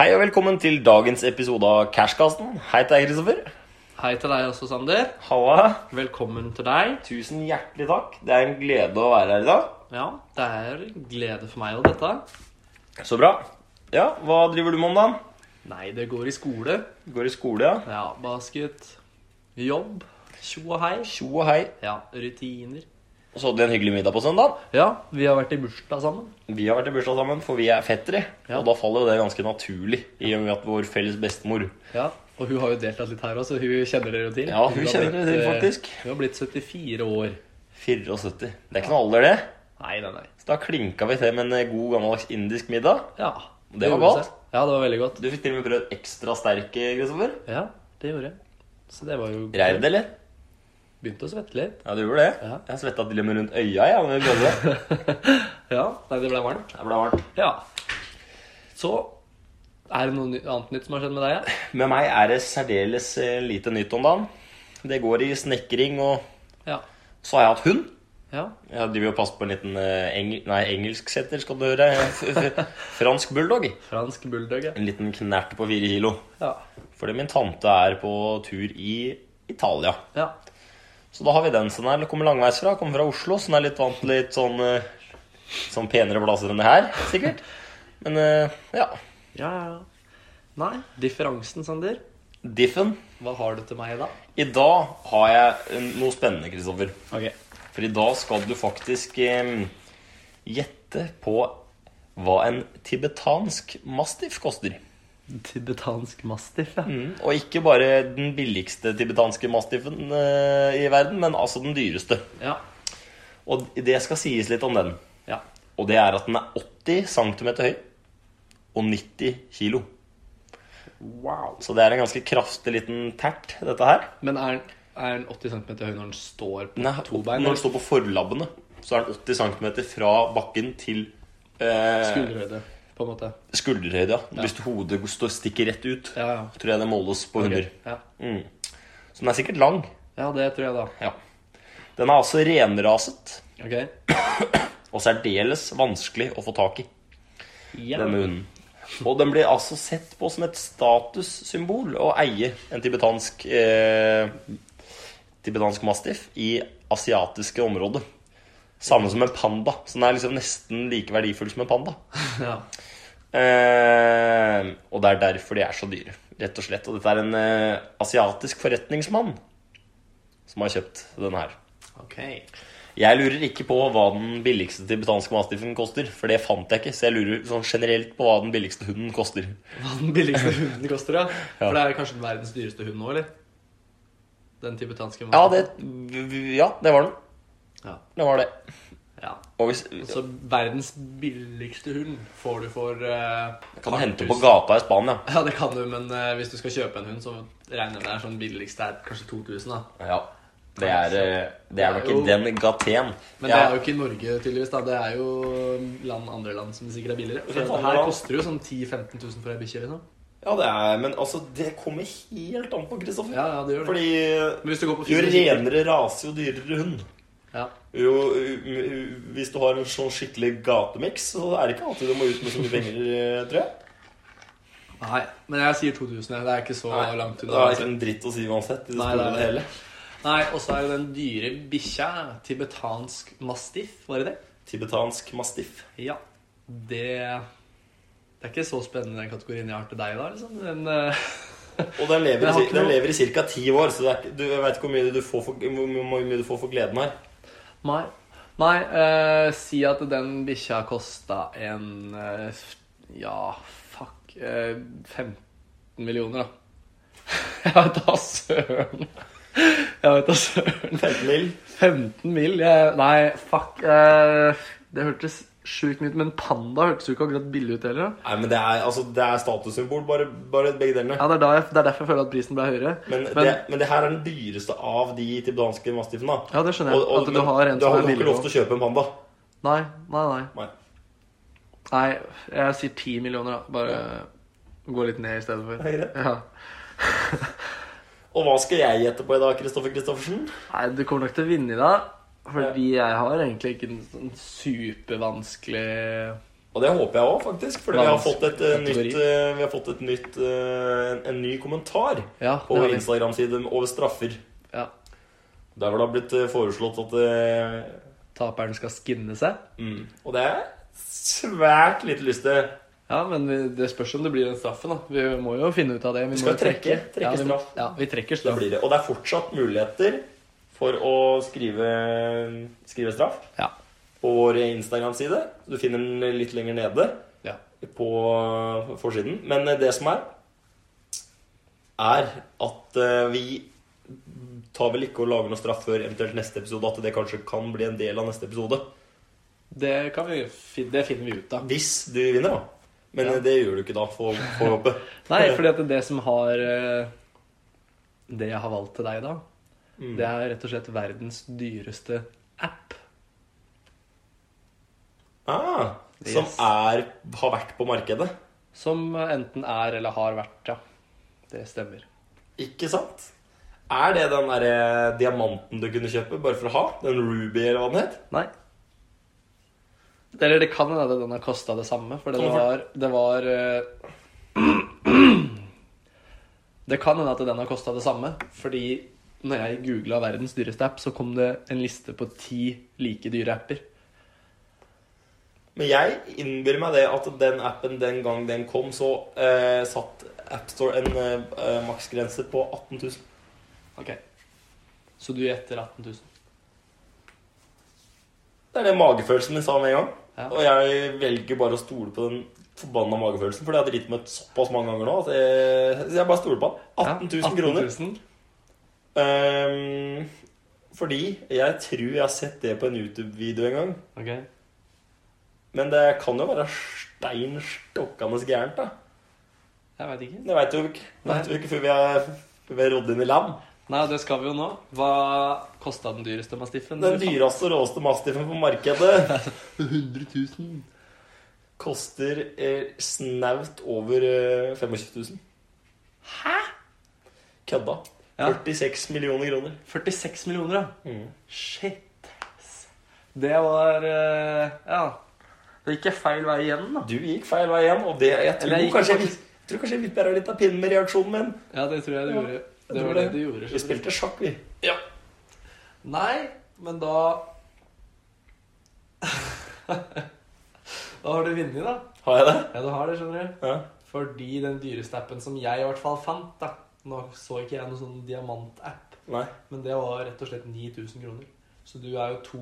Hei og velkommen til dagens episode av Cashkassen. Hei til deg, Kristoffer. Hei til deg også, Sander. Halla. Velkommen til deg. Tusen hjertelig takk. Det er en glede å være her i dag. Ja, det er en glede for meg og dette. Så bra. Ja, hva driver du med om dagen? Nei, det går i skole. Går i skole, ja. Ja, basket. Jobb. Tjo og hei. Tjo og hei. Ja, rutiner. Og så hadde vi en hyggelig middag på søndag. Ja, vi har vært i bursdag sammen. Vi har vært i bursdag sammen, for vi er fettere. Ja. Og da faller jo det ganske naturlig, i og med at vår felles bestemor Ja, og hun har jo deltatt litt her også. Hun kjenner dere jo til. Ja, hun har kjenner dere til, eh, faktisk. Hun har blitt 74 år. 74. Det er ikke noe alder, det. Nei, nei, nei. Så da klinka vi til med en god, gammeldags indisk middag. Ja, Det var gjorde godt. seg. Ja, det var veldig godt. Du fikk til og med prøvd ekstra sterk, Kristoffer. Ja, det gjorde jeg. Så det var jo Reiv det, eller? Begynte å svette litt. Ja, du gjorde det. Ja. Jeg svetta til og med rundt øya. Ja, men vi prøvde det. Ja, nei, det ble varmt. Det ble varmt. Ja. Så er det noe ny- annet nytt som har skjedd med deg? Med meg er det særdeles eh, lite nytt om dagen. Det går i snekring, og Ja. så har jeg hatt hund. Ja. Jeg driver og passer på en liten eh, engel... Nei, engelsksetter, skal du høre. F f fransk bulldog. Fransk bulldog, ja. En liten knert på fire kilo. ja. Fordi min tante er på tur i Italia. Ja. Så da har vi den. Så den er, kommer langveisfra. Kommer fra Oslo, så den er litt vant til litt sånn, eh, sånn penere plasser enn det her, sikkert. Men eh, ja. Ja, ja, ja. Nei, differansen, Sander. Diffen. Hva har du til meg da? I dag har jeg eh, noe spennende, Kristoffer. Ok. For i dag skal du faktisk eh, gjette på hva en tibetansk mastiff koster. Mm, Tibetansk mastiff, ja. Og ikke bare den billigste tibetanske mastiffen eh, i verden, men altså den dyreste. Ja. Og det skal sies litt om den. ja. Og det er at den er 80 cm høy og 90 kilo. Wow. Så det er en ganske kraftig liten tert, dette her. Men er den, er den 80 cm høy når den står på Nei, to bein? Når den står på forlabbene, så er den 80 cm fra bakken til eh, Skulderhøyde, på en måte. skulderhøyde. Ja. Hvis hodet står, stikker rett ut, Ja, ja. tror jeg det måles på hunder. Ja. Så den er sikkert lang. ja, det tror jeg da. Ja. Den er altså renraset Ok. og særdeles vanskelig å få tak i. Ja. Denne hunden. Og den blir altså sett på som et statussymbol å eie en tibetansk eh, Tibetansk mastiff i asiatiske områder. Samme som en panda. Så den er liksom nesten like verdifull som en panda. ja. Eh, og det er derfor de er så dyre, rett og slett. Og dette er en eh, asiatisk forretningsmann som har kjøpt denne her. Ok. Jeg lurer ikke på hva den billigste tibetanske mastiffen koster, for det fant jeg ikke. Så jeg lurer sånn generelt på hva den billigste hunden koster. Hva den billigste hunden koster, ja. For det er kanskje den verdens dyreste hund nå, eller? Den tibetanske Ja, mastiffen. det, ja, det var den. Ja. Det var det. ja. Og hvis, Så verdens billigste hund får du for eh, kan du hente på 4000. gata i Spania. Ja, det kan du, men eh, hvis du skal kjøpe en hund, så regner jeg med det er sånn billigste er kanskje 2000, da. Ja. Det er, eh, det er nok Jo. ikke den gateen. Men det er jo ikke i Norge, tydeligvis. da Det er jo land, andre land som sikkert er billigere. Det er For andre her land. koster det jo sånn 10 000-15 000 for ei bikkje, liksom. Ja, det er, men altså, det kommer helt an på Kristoffer. Ja, ja, det gjør det. Fordi Men hvis du går på jo Finn- renere rase, jo dyrere hund. Ja. Jo, ø- hvis du har en sånn skikkelig gatemiks, så er det ikke alltid du må ut med så mye penger, eh, tror jeg. Nei, men jeg sier 2000. jeg. Det er ikke så langt Det unna. er ikke en dritt å si uansett. I det Nei, store og det det er hele. Nei, og så er jo den dyre bikkja tibetansk mastiff, var det det? Tibetansk mastiff. Ja. Det Det er ikke så spennende den kategorien jeg har til deg, da, liksom. Men eh, Og den lever, Men jeg i har cir- ikke den noe- lever i ca. ti år, så det er, ikke- du veit ikke hvor mye, du får for, hvor mye du får for gleden her. Nei. Nei, eh, si at den bikkja kosta en eh, f- Ja, fuck eh, 15 millioner, da. Jeg vet da søren. Jeg vet da søren. 15 mil. 15 mil? Jeg, nei, fuck. eh, det hørtes sjukt mye ut, men panda hørtes jo ikke akkurat billig ut heller. da. Nei, men det er, altså, det er statussymbol, bare, bare begge delene. Ja, det er, da jeg, det er derfor jeg føler at prisen ble høyere. Men, det, men det her er den dyreste av de tibetanske mastiffene. da. Ja, det skjønner jeg. At du men har en du som har nok er ikke billigere. lov til å kjøpe en panda. Nei, nei, nei. Nei. Nei, jeg sier 10 millioner, da. Bare gå litt ned i stedet for. Er det greit? Ja. Og hva skal jeg gjette på i dag, Kristoffer Kristoffersen? Nei, du kommer nok til å vinne i dag. Fordi jeg har egentlig ikke en sånn supervanskelig Og det håper jeg òg, faktisk. Fordi vi har fått et eh, Kategori. nytt, eh, vi har fått et nytt eh, en, en ny kommentar Ja, på det vår har vi. Instagram-side over straffer. Ja. Der hvor det har blitt eh, foreslått at eh, Taperen skal skinne seg. mm, Og det er svært lite lyst til. Ja, men vi- det spørs om det blir den straffen, da. Vi må jo finne ut av det. Vi skal må jo trekke- trekke ja, vi, må- straff. Ja, vi trekker Da straff. blir det. Og det er fortsatt muligheter for å skrive, skrive straff Ja. på vår Instagram-side. Du finner den litt lenger nede. ja. på forsiden. Men det som er, er at eh, vi tar vel ikke og lager noe straff før eventuelt neste episode. At det kanskje kan bli en del av neste episode. Det, kan vi, fin- det finner vi ut av. Hvis du vinner, da. Men Ja. eh, det gjør du ikke da, får får håpe. Nei, fordi at det som har eh, Det jeg har valgt til deg, da, det er rett og slett verdens dyreste app. Ah, som Yes. er, har vært på markedet. Som enten er eller har vært, ja. Det stemmer. Ikke sant? Er det den derre diamanten du kunne kjøpe bare for å ha? Den Ruby, eller hva den het? Nei. Eller det kan hende den har kosta det samme, for den Kommer for- var Det var eh, Det kan hende at den har kosta det samme, fordi når jeg googla 'verdens dyreste app', så kom det en liste på ti like dyre apper. Men jeg innbyr meg det at den appen den gang den kom, så eh, satt AppStore en eh, eh, maksgrense på 18 000. Ok. Så du gjetter 18 000? Det er det magefølelsen min sa med en gang. Ja. Og jeg velger bare å stole på den forbanna magefølelsen, for det har jeg dritt med såpass mange ganger nå at jeg, så jeg bare stoler på den. 18 000 kroner. 000. Ehm, fordi jeg tror jeg har sett det på en YouTube-video en gang. Ok. Men det kan jo være stein stokkende gærent, da. Jeg veit ikke. Det veit vi jo ikke, vet vi jo ikke før vi er, før vi er rådd inn i land. Nei, det skal vi jo nå. Hva kosta den dyreste mastiffen? Den dyreste og råeste mastiffen på markedet 100 000. koster eh, snaut over eh, 25 000. Hæ? Kødda. Ja. 46 millioner kroner. 46 millioner, ja. Mm. Shit. ass. Det var eh, Ja. Det gikk jeg feil vei igjen, da. Du gikk feil vei igjen, og det, jeg tror Eller jeg gikk kanskje jeg, faktisk- jeg tror kanskje jeg vipper av litt av pinnen med reaksjonen min. Ja, det tror jeg Ja, du gjorde. jeg Det tror var det det. du gjorde. Vi spilte sjakk, vi. Ja. Nei, men da Da har du vunnet, da. Har jeg det? Ja, du har det, skjønner du. Ja. Fordi den dyreste appen som jeg i hvert fall fant, da Nå så ikke jeg noen sånn diamantapp, Nei. men det var rett og slett 9000 kroner. Så du er jo to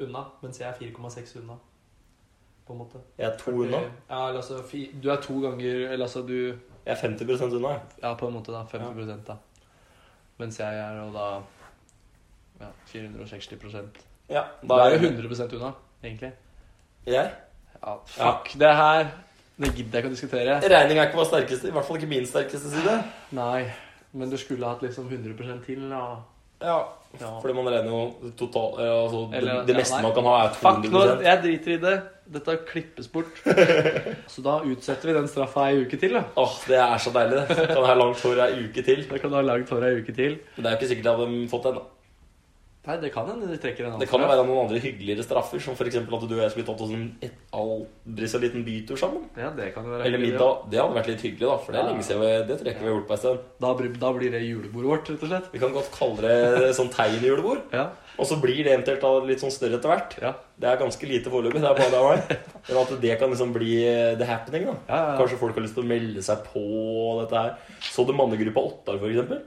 unna, mens jeg er 4,6 unna, på en måte. Jeg er to unna. Ja, eller altså, fi- du er to ganger Eller altså, du Jeg er 50 unna. jeg. Ja, på en måte, da. 50 da. Mens jeg er jo da ja, 460 Ja, Da er jeg 100 unna, egentlig. Jeg? Ja, fuck det her. Det gidder jeg ikke å diskutere. Regning er ikke vår sterkeste, i hvert fall ikke min sterkeste side. Nei, men du skulle hatt liksom 100 til, da. Ja, Ja. Fordi man regner jo total, eh, altså, Eller- Det, det ja, meste nei. man kan ha, er Fuck nå, 200 jeg driter i det. Dette klippes bort. Så da utsetter vi den straffa ei uke til, da. Åh, Det er så deilig. det. Kan ha langt hår ei uke til. Da kan du ha lagd hår ei uke til. Men det er jo ikke sikkert jeg hadde fått den. da. Nei, det kan hende de trekker en annen Det kan jo straff. være noen andre hyggeligere straffer, som f.eks. at du og jeg skulle tatt oss en et aldri så liten bytur sammen. Ja, det kan jo være Eller hyggelig, ja. middag. Det hadde vært litt hyggelig, da. For det er Ja. lenge siden vi, det tror jeg ikke vi har gjort på en stund. Da, blir- da blir det julebordet vårt, rett og slett. Vi kan godt kalle det sånn tegnjulebord. Ja, Og så blir det eventuelt da litt sånn større etter hvert. ja. Det er ganske lite foreløpig. Det er bare det og meg. Men at det kan liksom bli eh, the happening, da. Ja, ja, ja. Kanskje folk har lyst til å melde seg på og dette her. Så du mannegruppa Ottar, for eksempel?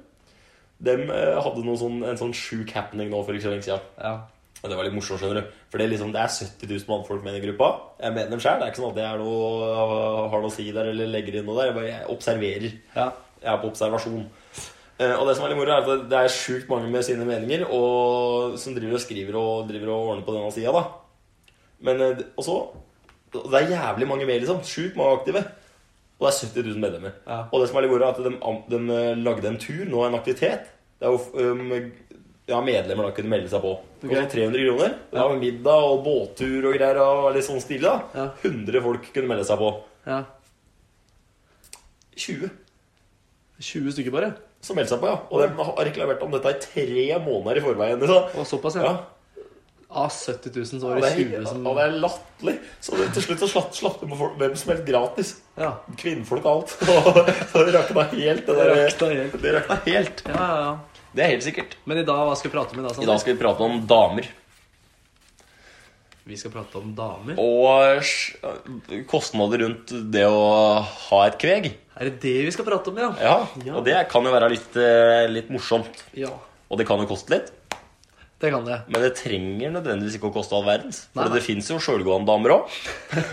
Dem eh, hadde noe sånn, en sånn sjuk happening nå for ikke så lenge siden. ja. Og det var litt morsomt, skjønner du. For det er, liksom, det er 70 000 mannfolk med i den gruppa. Jeg mener dem sjøl. Det er ikke sånn at jeg er noe, har noe å si der eller legger inn noe der. Jeg, bare, jeg observerer. Ja. Jeg er på observasjon. Eh, Og det som er litt moro, er at det er sjukt mange med sine meninger og, som driver og skriver og driver og ordner på denne sida, da. Men eh, d- Og så og Det er jævlig mange med, liksom. Sjukt mange aktive. Og det er 70 000 medlemmer. Ja. Og det som er litt moro, er at de, am- de eh, lagde en tur, nå en aktivitet. Det er jo f- um, ja, medlemmer da kunne melde seg på. Ok. Og så 300 kroner. Det var middag og båttur og greier. Og litt sånn stilig, da. Ja. 100 folk kunne melde seg på. ja. 20 20 stykker bare? som meldte seg på, ja. Og de har reklamert om dette i tre måneder i forveien. Liksom. Og såpass, ja. Ja. av 70 000 Ja, så var det det er, 20 helt- som ja, det er latterlig. Så det, til slutt så slapp, slapp du med folk, hvem som helst gratis. Ja. Kvinnfolk og alt. Og så det rakna helt. Det, Det der, rakna helt. det rakna helt. Ja, ja, ja. Det er helt sikkert. Men i dag, hva skal vi prate om i dag? I Sander? dag skal vi prate om damer. Vi skal prate om damer. Og sj- kostnader rundt det å ha et kveg. Er det det vi skal prate om, ja? Ja, Ja. Og det kan jo være litt, eh, litt morsomt. Ja, Og det kan jo koste litt. det kan det. Men det trenger nødvendigvis ikke å koste all verdens. For Nei, nei. det fins jo sjølgående damer òg.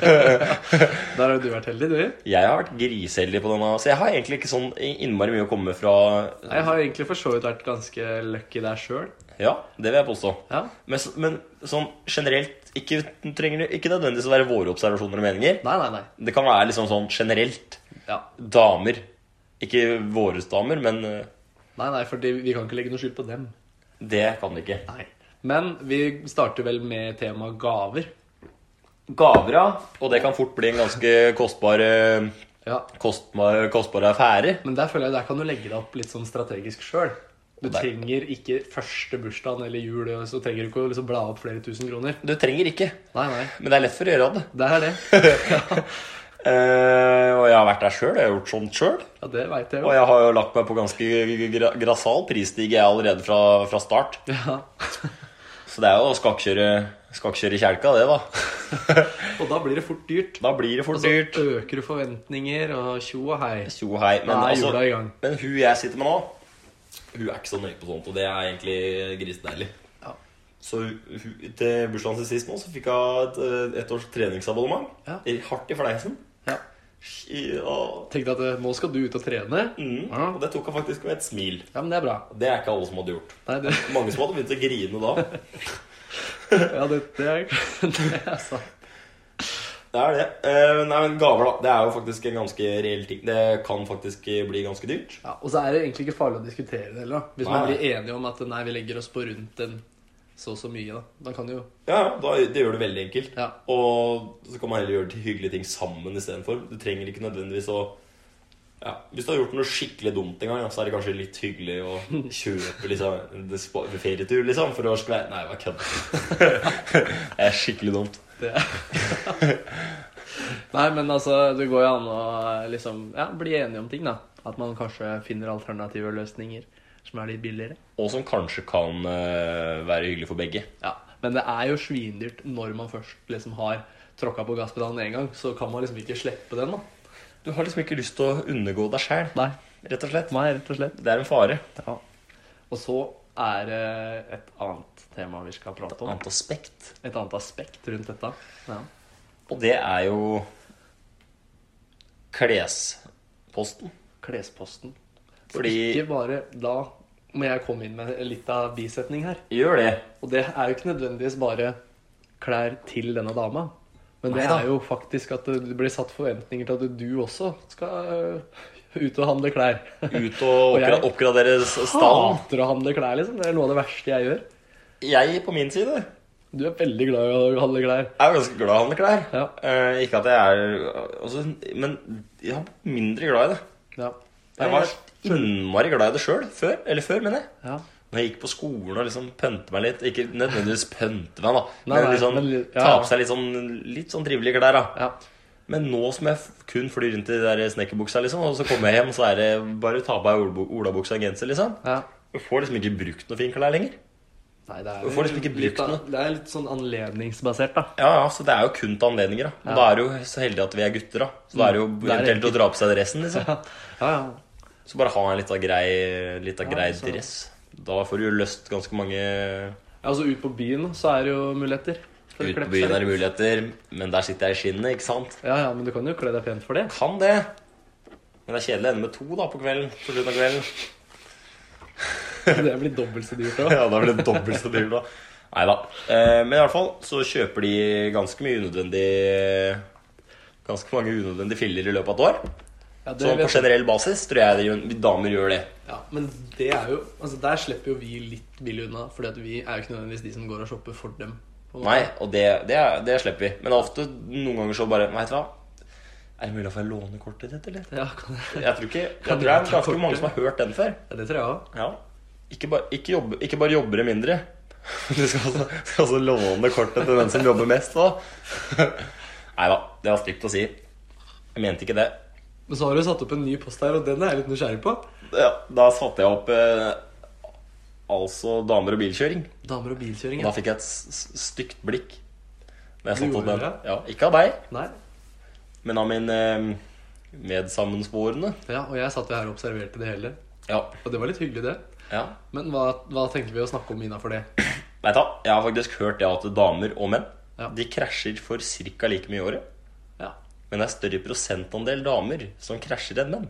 Der har jo du vært heldig, du. Jeg har vært griseheldig på denne. Så jeg har egentlig ikke sånn innmari mye å komme med fra Jeg har egentlig for så vidt vært ganske lucky der sjøl. Ja, det vil jeg påstå. Ja. Men, s- men sånn generelt ikke, trenger det ikke nødvendigvis å være våre observasjoner og meninger. Nei, nei, nei. Det kan være liksom sånn generelt. Ja. Damer. Ikke våre damer, men eh, Nei, nei, for vi kan ikke legge noe skyld på dem. det kan det ikke. Nei. Men vi starter vel med temaet gaver. Gaver, ja. Og det kan fort bli en ganske kostbar, eh, Ja. kostbar, kostbar affære. Men der føler jeg der kan du legge deg opp litt sånn strategisk sjøl. Du Og der- trenger ikke første bursdagen eller jul, så trenger du ikke å liksom bla opp flere tusen kroner. Du trenger ikke, Nei, nei. men det er lett for å gjøre det. Det er det. Eh, og jeg har vært der sjøl. Jeg har gjort sånt sjøl. Ja, det veit jeg Og jo. jeg har jo lagt meg på ganske gra- grassal prisstige jeg allerede fra, fra start. Ja. Så det er jo å skakkjøre, skakkjøre kjelka, det, da. Og da blir det fort dyrt. Da blir det Og fort så dyrt. øker du forventninger, og tjo og hei. Jo, hei. Men, Da er altså, jula i gang. men hun jeg sitter med nå, hun er ikke så nøye på sånt, og det er egentlig grisedeilig. Ja. Så hun- hun- til bursdagen sin sist nå, så fikk hun et, et års treningsabonnement. Ja. I- Hardt i fleisen. Ja. I- og- Tenkte at eh, nå skal du ut og trene. Mm. Ja. Og det tok hun faktisk med et smil. Ja, men det er bra. Det er ikke alle som hadde gjort. Nei, det, Mange som hadde begynt å grine da. ja, det, det, er, det er sant. Det er det. Eh, nei, men gaver, da. Det er jo faktisk en ganske reell ting. Det kan faktisk bli ganske dyrt. Ja, og så er det egentlig ikke farlig å diskutere det heller. da. Hvis man Nei. blir enige om at nei, vi legger oss på rundt en så og så mye, da. Da kan jo Ja, ja, da, det gjør det veldig enkelt. Ja. Og så kan man heller gjøre til hyggelige ting sammen istedenfor. Du trenger ikke nødvendigvis å ja, Hvis du har gjort noe skikkelig dumt en gang, ja, så er det kanskje litt hyggelig å kjøpe liksom, en spa- ferietur liksom, for å skvære Nei, hva kødder Det er skikkelig dumt. det Nei, men altså, det går jo an å liksom ja, bli enige om ting, da. At man kanskje finner alternative løsninger som er litt billigere. Og som kanskje kan eh, være hyggelig for begge. Ja, Men det er jo svindyrt når man først liksom har tråkka på gasspedalen én gang. Så kan man liksom ikke slippe den, da. Du har liksom ikke lyst til å undergå deg sjæl, Nei, rett og slett. nei rett og slett. Det er en fare. Ja. Og så er det et annet tema vi skal prate om. Annet aspekt. Et annet aspekt rundt dette. Ja. Og det er jo klesposten. Klesposten. Fordi Ikke bare da må jeg komme inn med litt av bisetning her. Gjør det. Og det er jo ikke nødvendigvis bare klær til denne dama. Men det Neida. er jo faktisk at det blir satt forventninger til at du også skal øh, ut og handle klær. Ut og Og jeg- oppgra oppgradere s- stallen. Hater å handle klær, liksom. Det er noe av det verste jeg gjør. Jeg på min side er Du er veldig glad i å handle klær. jo ganske glad i å handle klær. Ja. Eh, ikke at jeg er altså, Men jeg er mindre glad i det. Ja. Jeg var innmari glad i det sjøl før. Eller før, mener jeg. ja. Når jeg gikk på skolen og liksom pønte meg litt. Ikke nødvendigvis pønte meg, da, Nei, men nei, liksom men litt- ta ja. på seg litt sånn, litt sånn trivelige klær. da ja. Men nå som jeg f- kun flyr rundt i de der snekkerbuksa, liksom, og så kommer jeg hjem, så er det bare å ta på meg olabo- olabuksa og genser, liksom. ja. Du får liksom ikke brukt noe fin klær lenger. Nei, det er, Du får liksom ikke litt, brukt av- det er litt sånn anledningsbasert, da. Ja, ja, så det er jo kun til anledninger, da. Og Ja. da er det jo så heldig at vi er gutter, da. Så da er det jo Det er eventuelt å enkelt. dra på seg dressen, liksom. Ja, ja. Så bare ha en litt av grei, litt av Ja, grei så- dress. Da får du jo løst ganske mange Altså ut på byen så er det jo muligheter. for å Ute kle på på byen seg er det litt. muligheter, men der sitter jeg i skinnet, ikke sant? Ja, ja, men du kan jo kle deg pent for det. Kan det. Men det er kjedelig å ende med to da på kvelden. På slutten av kvelden. Det blir dobbelt så dyrt òg. Ja, da blir det dobbelt så dyrt, da. Nei da. Eh, men i alle fall så kjøper de ganske mye unødvendig Ganske mange unødvendige filler i løpet av et år. Ja, Så det på vet jeg. generell basis tror jeg de- damer gjør det. ja, men det er jo Altså der slipper jo vi litt billig unna, Fordi at vi er jo ikke nødvendigvis de som går og shopper for dem. på en måte. Nei, og det, det, er- det slipper vi. Men det er ofte noen ganger så bare Vet du hva? Er det mulig å få låne kortet ditt, eller? Ja, kan jeg. Jeg tror ikke Jeg tror det er ganske mange som har hørt den før. Ja, det tror jeg òg. Ja. Ikke bare, ikke, jobbe, ikke bare jobber det mindre, Du skal altså, skal altså låne kortet til den som jobber mest, da? Nei da, det var stygt å si. Jeg mente ikke det. Men så har du satt opp en ny post her, og den er jeg litt nysgjerrig på. Ja, da satte jeg opp eh, altså damer og bilkjøring. Damer og bilkjøring. Og da Ja. fikk jeg et s- s- stygt blikk. Da jeg Du satte opp gjorde den. Ja, ikke av deg, Nei. men av min eh, medsammensporende. Ja, og jeg satt jo her og observerte det hele. Ja. Og det var litt hyggelig, det. ja. Men hva, hva tenkte vi å snakke om innafor det? Vet du, hva, jeg har faktisk hørt det at damer og menn Ja. De krasjer for ca. like mye i året. Ja. Men det er større prosentandel damer som krasjer enn menn.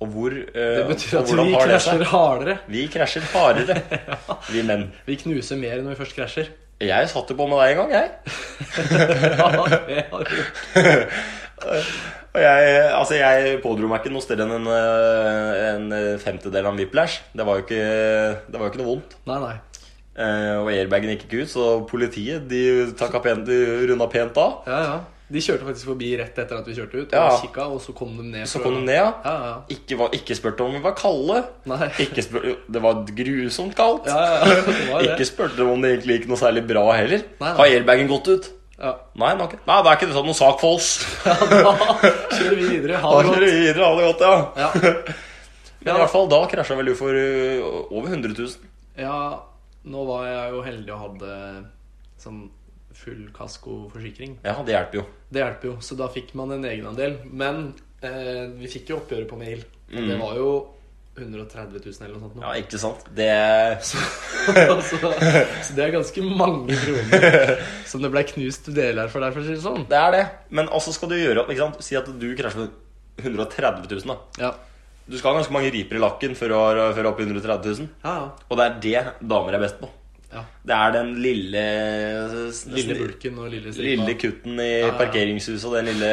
Og hvor eh, Det betyr og at hvordan vi har det seg? krasjer hardere. Vi krasjer hardere, vi menn. Vi knuser mer når vi først krasjer. Jeg satt jo på med deg en gang, jeg. Ja, det har vi. Og jeg, altså jeg pådro meg ikke noe større enn en, eh, en femtedel av en whiplash. Det var jo ikke, det var jo ikke noe vondt. Nei, nei. Eh, og airbagen gikk ikke ut, så politiet de takka pent, de runda pent av. Ja, ja. De kjørte faktisk forbi rett etter at vi kjørte ut. Og Ja. kikka, og så kom de ned. Så for kom å- de ned, ja. Ja, ja. Ikke, var, ikke spurte om vi var kalde. Nei. Ikke spør, det var grusomt kaldt. Ja, ja, ja. Det var jo Ikke det. spurte de om det egentlig gikk noe særlig bra heller. Nei, nei. Har airbagen gått ut? Ja. Nei, den har ikke. Nei, det er ikke det sånn noen sak for oss. Ja, da kjører vi videre. Ha Da det kjører godt. vi videre, ha det godt, ja. Ja. Men i hvert fall da krasja vel du for ø, over 100 000. ja, nå var jeg jo heldig og hadde sånn full kaskoforsikring. Ja, det hjelper jo. Det hjelper jo, så da fikk man en egenandel. Men eh, vi fikk jo oppgjøret på mail. Og Det var jo 130 000 eller noe sånt. Nå. Mm. Ja, ikke sant? Det så, Altså, så det er ganske mange kroner som det ble knust deler for der, for å si det sånn. Det er det. Men altså skal du gjøre ikke sant? Si at du krasjer for 130 000, da. Ja. Du skal ha ganske mange riper i lakken før du har før du er oppe i 130 000. Ja, Og det er det damer er best på. ja. ja. Det er den lille Lille bulken og lille stripa. lille kutten i ja. parkeringshuset og den lille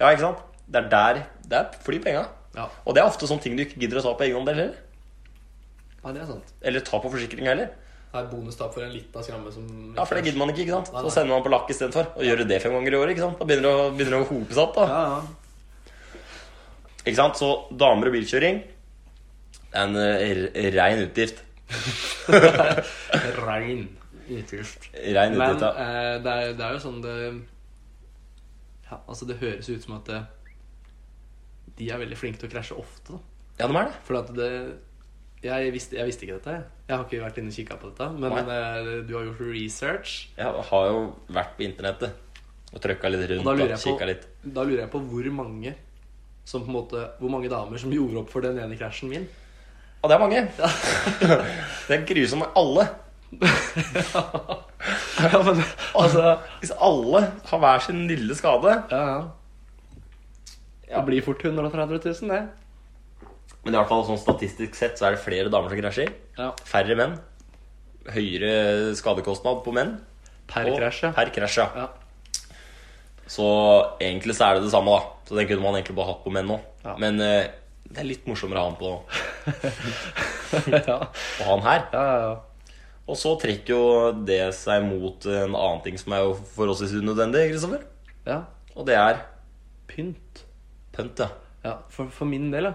Ja, ikke sant? Det er der Der flyr penga. Ja. Og det er ofte sånne ting du ikke gidder å ta på egenhånd heller. ja, det er sant. Eller ta på forsikring heller. Det er bonustap for en liten skramme som Ja, for det gidder man ikke, ikke sant? Så Nei, nei. sender man på lakk istedenfor. Og gjør det fem ganger i året, ikke sant? Da begynner det å, begynner det å hope seg opp, da. Ja, ja. Ikke sant? Så damer og bilkjøring det er en eh, r- rein utgift. Rein utgift. Rein Men utgift, ja. eh, det, er, det er jo sånn det ja, Altså, det høres ut som at det, de er veldig flinke til å krasje ofte, da. Ja, de er det. For at det jeg visste, jeg visste ikke dette. jeg. Jeg har ikke vært inne og kikka på dette. Men eh, du har gjort research. Jeg har jo vært på internettet og trøkka litt rundt Og og, da lurer, og jeg kikka på, litt. da lurer jeg på hvor mange som på en måte, Hvor mange damer som gjorde opp for den ene krasjen min. Og det er mange. det er grusomt. Alle. ja, men, altså, Hvis alle har hver sin lille skade ja, ja. Det blir fort 130 000, det. Men i hvert fall sånn statistisk sett så er det flere damer som krasjer. Ja. Færre menn. Høyere skadekostnad på menn. Per og krasj, ja. Per krasj, ja. ja. Så egentlig så er det det samme, da. Så den kunne man egentlig bare hatt på menn nå. Ja. Men eh, det er litt morsommere å ha han på ja. å ha han her. Ja, ja, ja. Og så trekker jo det seg mot en annen ting som er jo forholdsvis unødvendig, Kristoffer. ja. Og det er Pynt. pønt, ja. Ja, for, for min del, ja.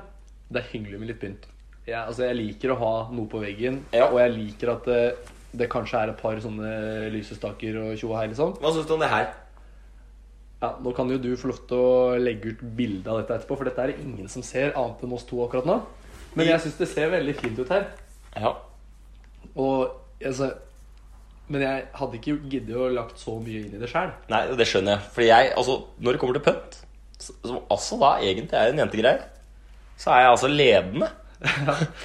Det er hyggelig med litt pynt. Jeg, altså, jeg liker å ha noe på veggen, Ja. og jeg liker at det, det kanskje er et par sånne lysestaker og tjo og hei, liksom. Hva syns du om det her? Ja, Nå kan jo du få lov til å legge ut bilde av dette etterpå, for dette er det ingen som ser, annet enn oss to akkurat nå. Men jeg syns det ser veldig fint ut her. Ja. Og altså Men jeg hadde ikke giddet å lagt så mye inn i det sjøl. Nei, det skjønner jeg. Fordi jeg, altså, når det kommer til pønt, s- som altså da egentlig er en jentegreie, så er jeg altså ledende,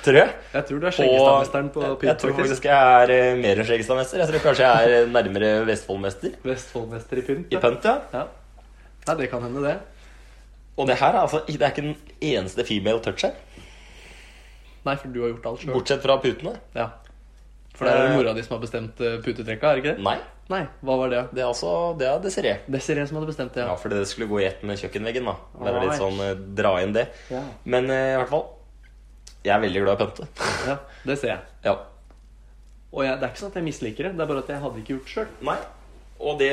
tror jeg. Jeg tror du er Og skjeggestadmesteren på jeg, jeg pynt, tror faktisk. faktisk jeg er eh, mer enn skjeggestadmester. Jeg tror kanskje jeg er eh, nærmere Vestfoldmester Vestfoldmester i pynt. i pønt, ja. Ja. Nei, det kan hende, det. Og det her er altså det er ikke den eneste female touch her, Nei, for du har gjort alt sjøl. bortsett fra putene. Ja. For det er jo mora di som har bestemt eh, putetrekka, er det ikke det? Nei, Nei, hva var det? det er altså det er Desiree. Desiree som hadde bestemt det, Ja, ja. fordi det skulle gå i ett med kjøkkenveggen, da. Det var litt Alright. sånn eh, dra inn det. Ja. Men eh, i hvert fall, jeg er veldig glad i pønte. ja det ser jeg. Ja. Og jeg, det er ikke sånn at jeg misliker det, det er bare at jeg hadde ikke gjort sjøl. Nei. Og det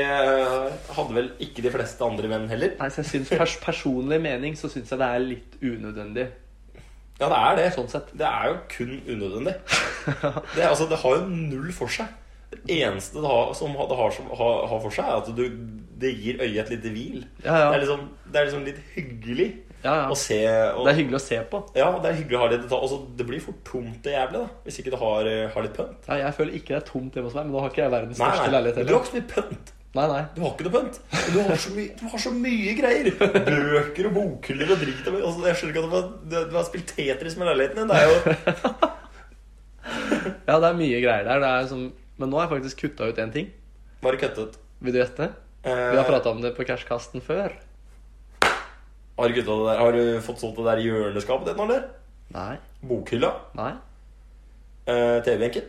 hadde vel ikke de fleste andre menn heller. Nei, så jeg synes pers Personlig mening så syns jeg det er litt unødvendig. Ja, det er det. Sånn sett. Det er jo kun unødvendig. Det, er- altså, det har jo null for seg. Det eneste det har, som det har, som, har, har for seg, er at du, det gir øyet et lite hvil. Ja, ja. Det, er liksom, det er liksom litt hyggelig Ja, ja. å se og, Det er hyggelig å se på. Ja, det er hyggelig å ha litt detalj. Altså, det blir for tomt og jævlig da, hvis ikke du har, eh, har litt pønt. Ja, jeg føler ikke det er tomt hjemme hos meg, men nå har ikke jeg verdens Nei, største nei, leilighet du har heller. ikke så mye pønt. Nei, nei. Du har ikke noe pønt. Men du har så, mye- du har så mye greier. Bøker og bokhyller og drit og altså, Jeg skjønner ikke at du har, du, du har spilt Tetris med leiligheten din. Det er jo Ja, det er mye greier der. Det er som... Men nå har jeg faktisk kutta ut én ting. bare køttet. Vil du gjette? Vi har Eh, prata om det på Cashkasten før. Har du, gutta det der, har du fått solgt det der hjørneskapet ditt nå, eller? Nei. Bokhylla, Nei. eh, TV-benken,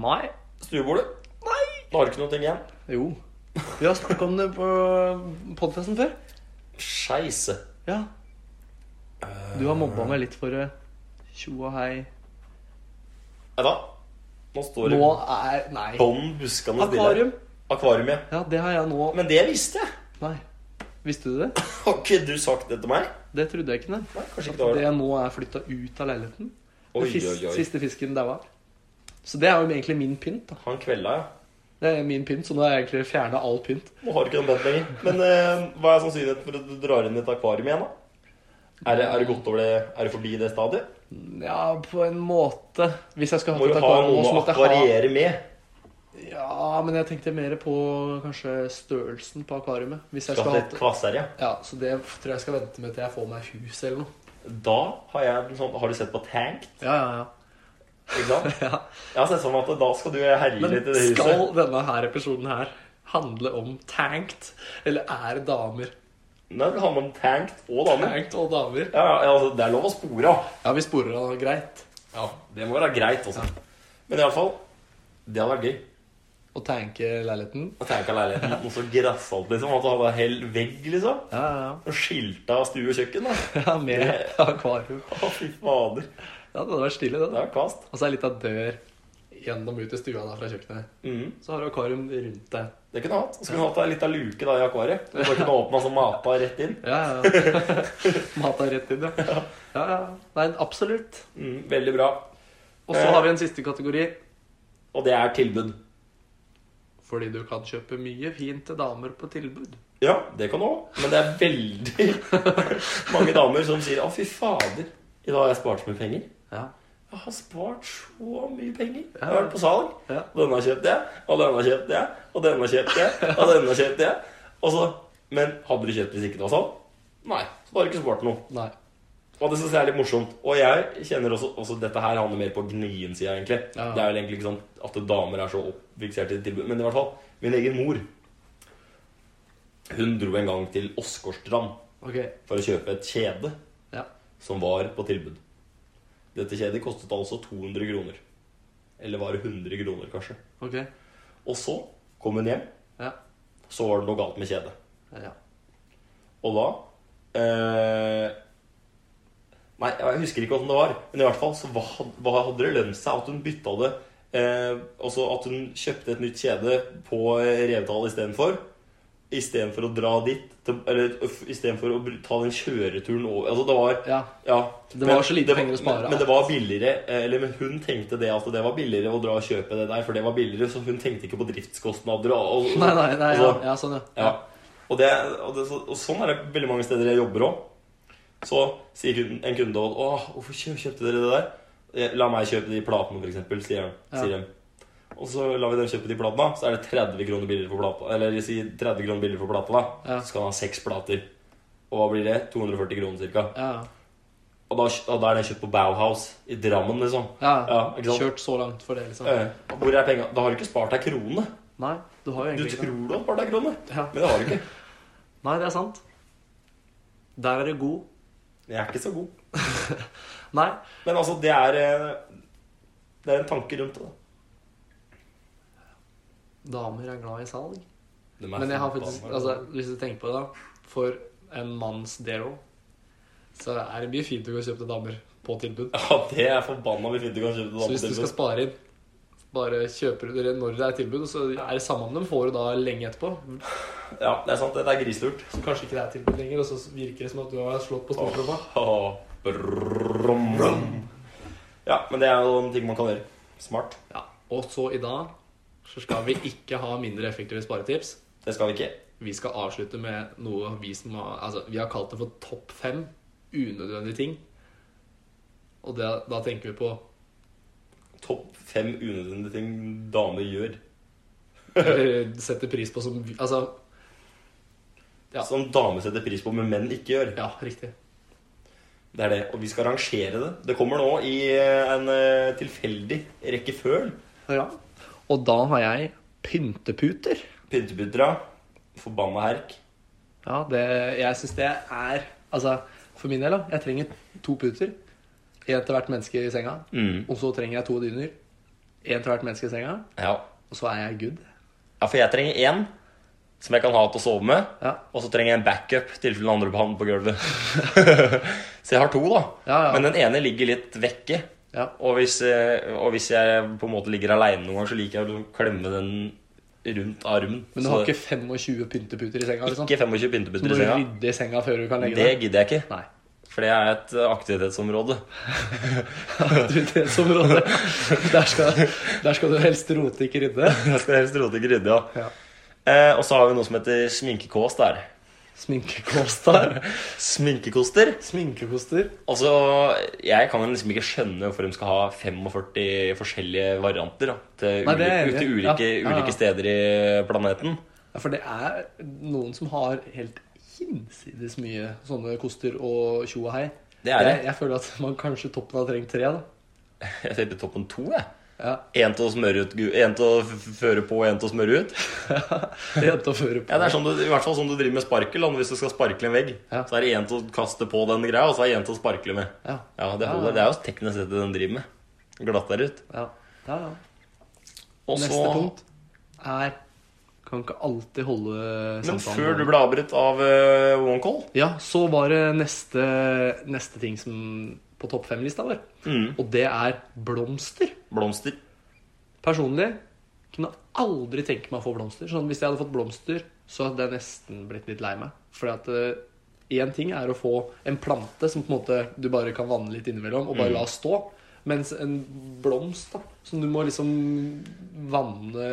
Nei. stuebordet. Nei. Da har du ikke noe ting igjen. Jo. Vi har snakka om det på podkasten før. Skeise. Ja. Du har mobba meg litt for eh, tjo og hei. Nei da. Nå står det Nå er Nei. bånn buskende stille. Akvarium. Akvarium, ja. Ja, det har jeg nå. Men det visste jeg. Nei. Visste du det? Har ikke du sagt det til meg? Det trodde jeg ikke. Nei. Nei, kanskje At ikke det var det det. nå er flytta ut av leiligheten. Oi, Den fis oi, oi. siste fisken daua. Så det er jo egentlig min pynt. da. Han kvelda, ja. Det er min pynt, Så nå har jeg egentlig fjerna all pynt. Nå har du ikke den bent lenger. Men eh, hva er sannsynligheten for at du drar inn i et akvarium igjen, da? Er det, er det godt over det Er det forbi det stadiet? Ja, på en måte. Hvis jeg skulle Må hatt jo et ha akvarium, noen så å måtte jeg ha akvariere med. Ja, men jeg tenkte mer på kanskje størrelsen på akvariet. Hvis jeg Skal skulle til et hatt kvassherje. Ja, så det tror jeg skal vente med til jeg får meg hus eller noe. Da har jeg en sånn Har du sett på Tank? Ja, ja, ja. Ikke sant? Ja. Jeg har sett for meg at da skal du herje Men litt i det huset. skal denne her episoden her handle om tanked, eller er det damer? Nei, det handler om tanked og damer. Tanked og damer. Ja, ja, altså, det er lov å spore av. Ja, vi sporer av greit. Ja, det må være greit også. Men iallfall, det hadde vært gøy. Å tanke leiligheten. Å tenke leiligheten noe så grassalt, liksom. At du hadde hel vegg, liksom. Ja, ja, Og skilta stue og kjøkken, da. ja. ja med Det- akvarium. Å, fy fader. Ja, det hadde vært stilig, det. Det da. er kvast. Og så er det litt av dør gjennom ut i stua da fra kjøkkenet. Mm. Så har du akvarium rundt deg. Det kunne du hatt. Så kunne du hatt ei lita luke da i akvariet. Du bare kunne åpna sånn mata rett inn. Ja, ja. Mata rett inn, ja. ja, ja. Nei, absolutt. Mm, veldig bra. Og så har vi en siste kategori. Og det er tilbud. Fordi du kan kjøpe mye fint til damer på tilbud. Ja, det kan du òg. Men det er veldig mange damer som sier 'Å, fy fader, i dag har jeg spart så mye penger'. Ja. Jeg har spart så mye penger. Jeg Ja. har vært på salg. Ja. Denne kjøpte jeg, og denne kjøpte jeg, og denne kjøpte jeg, og denne kjøpte jeg. Og så, men hadde du kjøpt hvis ikke det var salg? Nei. Så da har du ikke spart noe. Nei. Og det synes jeg er litt morsomt. Og jeg kjenner også, også Dette her handler mer på gnien-sida, egentlig. Ja. Det er vel egentlig ikke sånn at damer er så oppfiksert i tilbud. Men i hvert fall, min egen mor Hun dro en gang til Åsgårdstrand Ok. for å kjøpe et kjede Ja. som var på tilbud. Dette kjedet kostet altså 200 kroner. Eller var det 100 kroner, kanskje. Ok. Og så kom hun hjem, Ja. så var det noe galt med kjedet. Ja. Og da eh, Nei, jeg husker ikke hvordan det var, men i hvert fall så hva, hva hadde det lønt seg at hun bytta det eh, Altså at hun kjøpte et nytt kjede på eh, Revetal istedenfor. Istedenfor å dra dit til, Eller f- istedenfor å br- ta den kjøreturen over Altså det var ja. ja. Det var så lite penger å spare. Men, men det var billigere eh, Eller men hun tenkte det at det var billigere å dra og kjøpe det der, for det var billigere, så hun tenkte ikke på driftskostnader og, og Nei, nei, nei. Ja, altså, ja sånn, ja. ja. Og, det, og, det, og sånn er det veldig mange steder jeg jobber òg. Så sier kunden, en kunde og, 'Å, hvorfor kjø- kjøpte dere det der?' «Jeg- 'La meg kjøpe de platene, for eksempel', sier han. Ja. Sier de. Og så lar vi dem kjøpe de platene, så er det 30 kroner billigere for plata. Eller si 30 kroner billigere for plata, da. Ja. Så skal han ha seks plater. Og hva blir det? 240 kroner cirka. Ja, Og da, og da er den kjøpt på Bauhaus i Drammen, liksom. ja. Ja, ikke sant? Kjørt så langt for det, liksom. Eh, Hvor er penga? Da har du ikke spart deg krone. Nei, du har jo Du egentlig ikke tror du har spart deg krone, det. Ja. men det har du ikke. Nei, det er sant. Der er du god. Jeg er ikke så god. Nei. Men altså, det er eh, Det er en tanke rundt det. Damer er glad i salg. da. Men jeg har faktisk altså, Hvis du tenker på det, da. For en manns del òg, så er det mye fint å gå og kjøpe til damer på tilbud. Ja, det er forbanna mye fint du kan kjøpe til Så hvis du skal dametilbud. spare inn bare kjøper du det når det er tilbud, og så er det samme om dem får du da lenge etterpå. Ja, det er sant. Dette er grislurt. Så kanskje ikke det er tilbud lenger, og så virker det som at du har slått på stortromma. Åh, brum, brum. Ja, men det er jo en ting man kan gjøre. Smart. Ja. Og så i dag så skal vi ikke ha mindre effektive sparetips. Det skal vi ikke. Vi skal avslutte med noe vi som har Altså, vi har kalt det for topp fem unødvendige ting. Og det, da tenker vi på Topp fem unødvendige ting damer gjør. Eller setter pris på som vi- Altså, Ja. Som damer setter pris på, men menn ikke gjør. ja, riktig. Det er det. Og vi skal rangere det. Det kommer nå i eh, en eh, tilfeldig rekkeføl. Ja. Og da har jeg pynteputer. Pynteputra. Forbanna herk. Ja, det, jeg syns det er Altså, for min del, da. Jeg trenger to puter. Én til hvert menneske i senga. Mm. Og så trenger jeg to dyner. Én til hvert menneske i senga. Ja. Og så er jeg good. ja, for jeg trenger én som jeg kan ha til å sove med. Ja. Og så trenger jeg en backup i tilfelle den andre havner på gulvet. så jeg har to, da. Ja, ja. Men den ene ligger litt vekke. Ja. Og hvis, eh, og hvis jeg på en måte ligger aleine noen ganger, så liker jeg å klemme den rundt armen. Men Så du har det- ikke 25 pynteputer i senga? liksom? ikke 25 Du pynteputter må i senga. rydde i senga før du kan legge Det deg? gidder jeg ikke, Nei. for det er et eh, aktivitetsområde. Aktivitetsområdet. Der skal, der skal du helst rote, ikke rydde. Jeg skal helst rote ikke rydde, ja. Ja. Eh, og så har vi noe som heter sminkekås der. Sminkekoster. Sminkekoster. Sminkekoster. Altså, jeg kan liksom ikke skjønne hvorfor de skal ha 45 forskjellige varianter da, til, Nei, det er jeg ulike, enig i. til ulike, Ja, ja, ja. ulike steder i planeten. Ja, for det er noen som har helt hinsides mye sånne koster og tjo og hei. Det er det. Jeg, jeg føler at man kanskje toppen har trengt tre, da. Jeg tenkte toppen to, jeg. Ja. En til å smøre ut, gu- en til å f- føre på, og en til å smøre ut. Det er til å føre på. Ja, det er sånn du, I hvert fall sånn du driver med sparkel. da, Hvis du skal sparkle en vegg, Ja. så er det en til å kaste på den greia, og så er det en til å sparkle med. Ja. Ja, Det holder. Det er jo teknisk sett det den driver med. Glatt der ut. Ja. Ja, ja. Og Neste så- punkt er Kan ikke alltid holde Men samtalen. før du ble avbrutt av eh, OneCall Ja, så var det neste, neste ting som på topp fem-lista vår. Mhm. Og det er blomster. Blomster. Personlig kunne jeg aldri tenke meg å få blomster. Sånn, hvis jeg hadde fått blomster, så hadde jeg nesten blitt litt lei meg. Fordi at én ting er å få en plante som på en måte du bare kan vanne litt innimellom og bare Mm. la stå. Mens en blomst da, som du må liksom vanne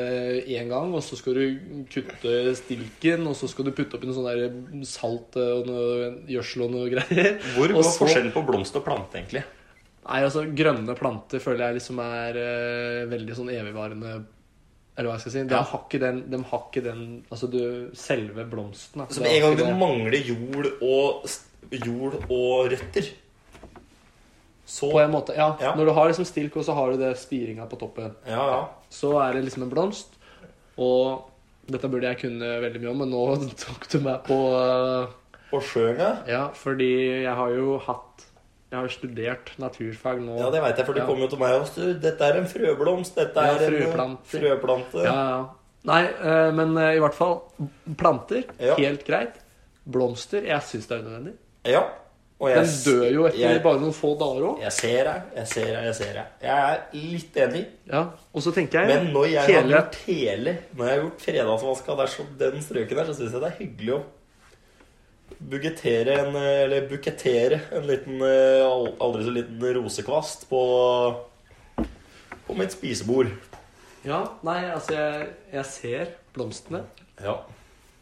én gang, og så skal du kutte stilken, og så skal du putte oppi noe sånn der salt eh, og noe gjødsel og noe greier. Hvor Og går så- forskjellen på blomst og plante, egentlig? Nei, altså grønne planter føler jeg liksom er eh, veldig sånn evigvarende Eller hva jeg skal si. De Ja. har ikke den, de har ikke den Altså du, selve blomsten. da. Så Det med en har gang ikke du det. mangler jord og, s- jord og røtter, så På en måte, ja. Ja. Når du har liksom stilk, og så har du det spiringa på toppen, Ja, ja. så er det liksom en blomst. Og dette burde jeg kunne veldig mye om, men nå tok du meg på eh, Og sjøenga? Ja, fordi jeg har jo hatt Jeg har jo studert naturfag nå. Ja, det veit jeg, for du Ja. kom jo til meg og sa dette er en frøblomst. Dette Ja, er en frøplanter. frøplante. Ja, ja. Nei, eh, men eh, i hvert fall planter. Ja. Helt greit. Blomster. Jeg syns det er unødvendig. Ja, Og jeg, Den dør jo etter jeg, bare noen få dager òg. jeg ser deg, jeg ser deg, jeg ser deg. Jeg er litt enig. Ja. Og så tenker jeg Men når jeg har hele gjort hele Når jeg har gjort fredagsvaska der så den strøken der, så syns jeg det er hyggelig å bugettere en Eller bukettere en liten eh, al- aldri så liten rosekvast på På mitt spisebord. Ja, nei, altså jeg, jeg ser blomstene, Ja.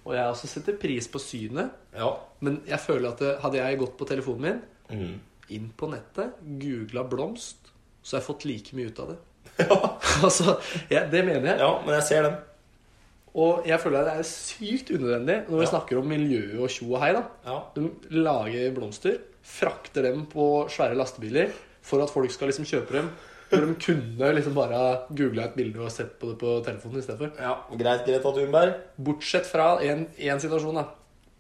og jeg også setter pris på synet. Ja. Men jeg føler at eh, hadde jeg gått på telefonen min, Mm. inn på nettet, googla blomst, så har jeg fått like mye ut av det. altså, jeg, det mener jeg. ja, men jeg ser den. Og jeg føler at det er sykt unødvendig når vi Ja. snakker om miljøet og tjo og hei. da. Ja. De lager blomster, frakter dem på svære lastebiler for at folk skal liksom kjøpe dem. Når de kunne liksom bare googla et bilde og sett på det på telefonen istedenfor. ja. Greit, Greta Thunberg. Bortsett fra én situasjon, da.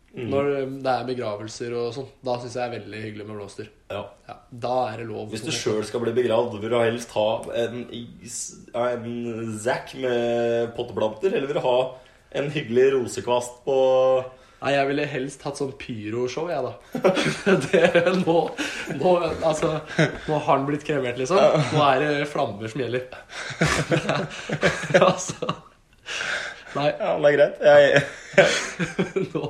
Mm. Når det er begravelser og sånn. Da syns jeg det er veldig hyggelig med blomster. Ja. Ja, da er det lov. Hvis du sjøl skal bli begravd, vil du helst ha en, is- ja, en zack med potteplanter, eller vil du ha en hyggelig rosekvast på Nei, jeg ville helst hatt sånn pyroshow, jeg, da. Det, nå, nå, altså, nå har den blitt kremert, liksom. Nå er det flammer som gjelder. altså Nei, Ja, det er greit. Jeg, nå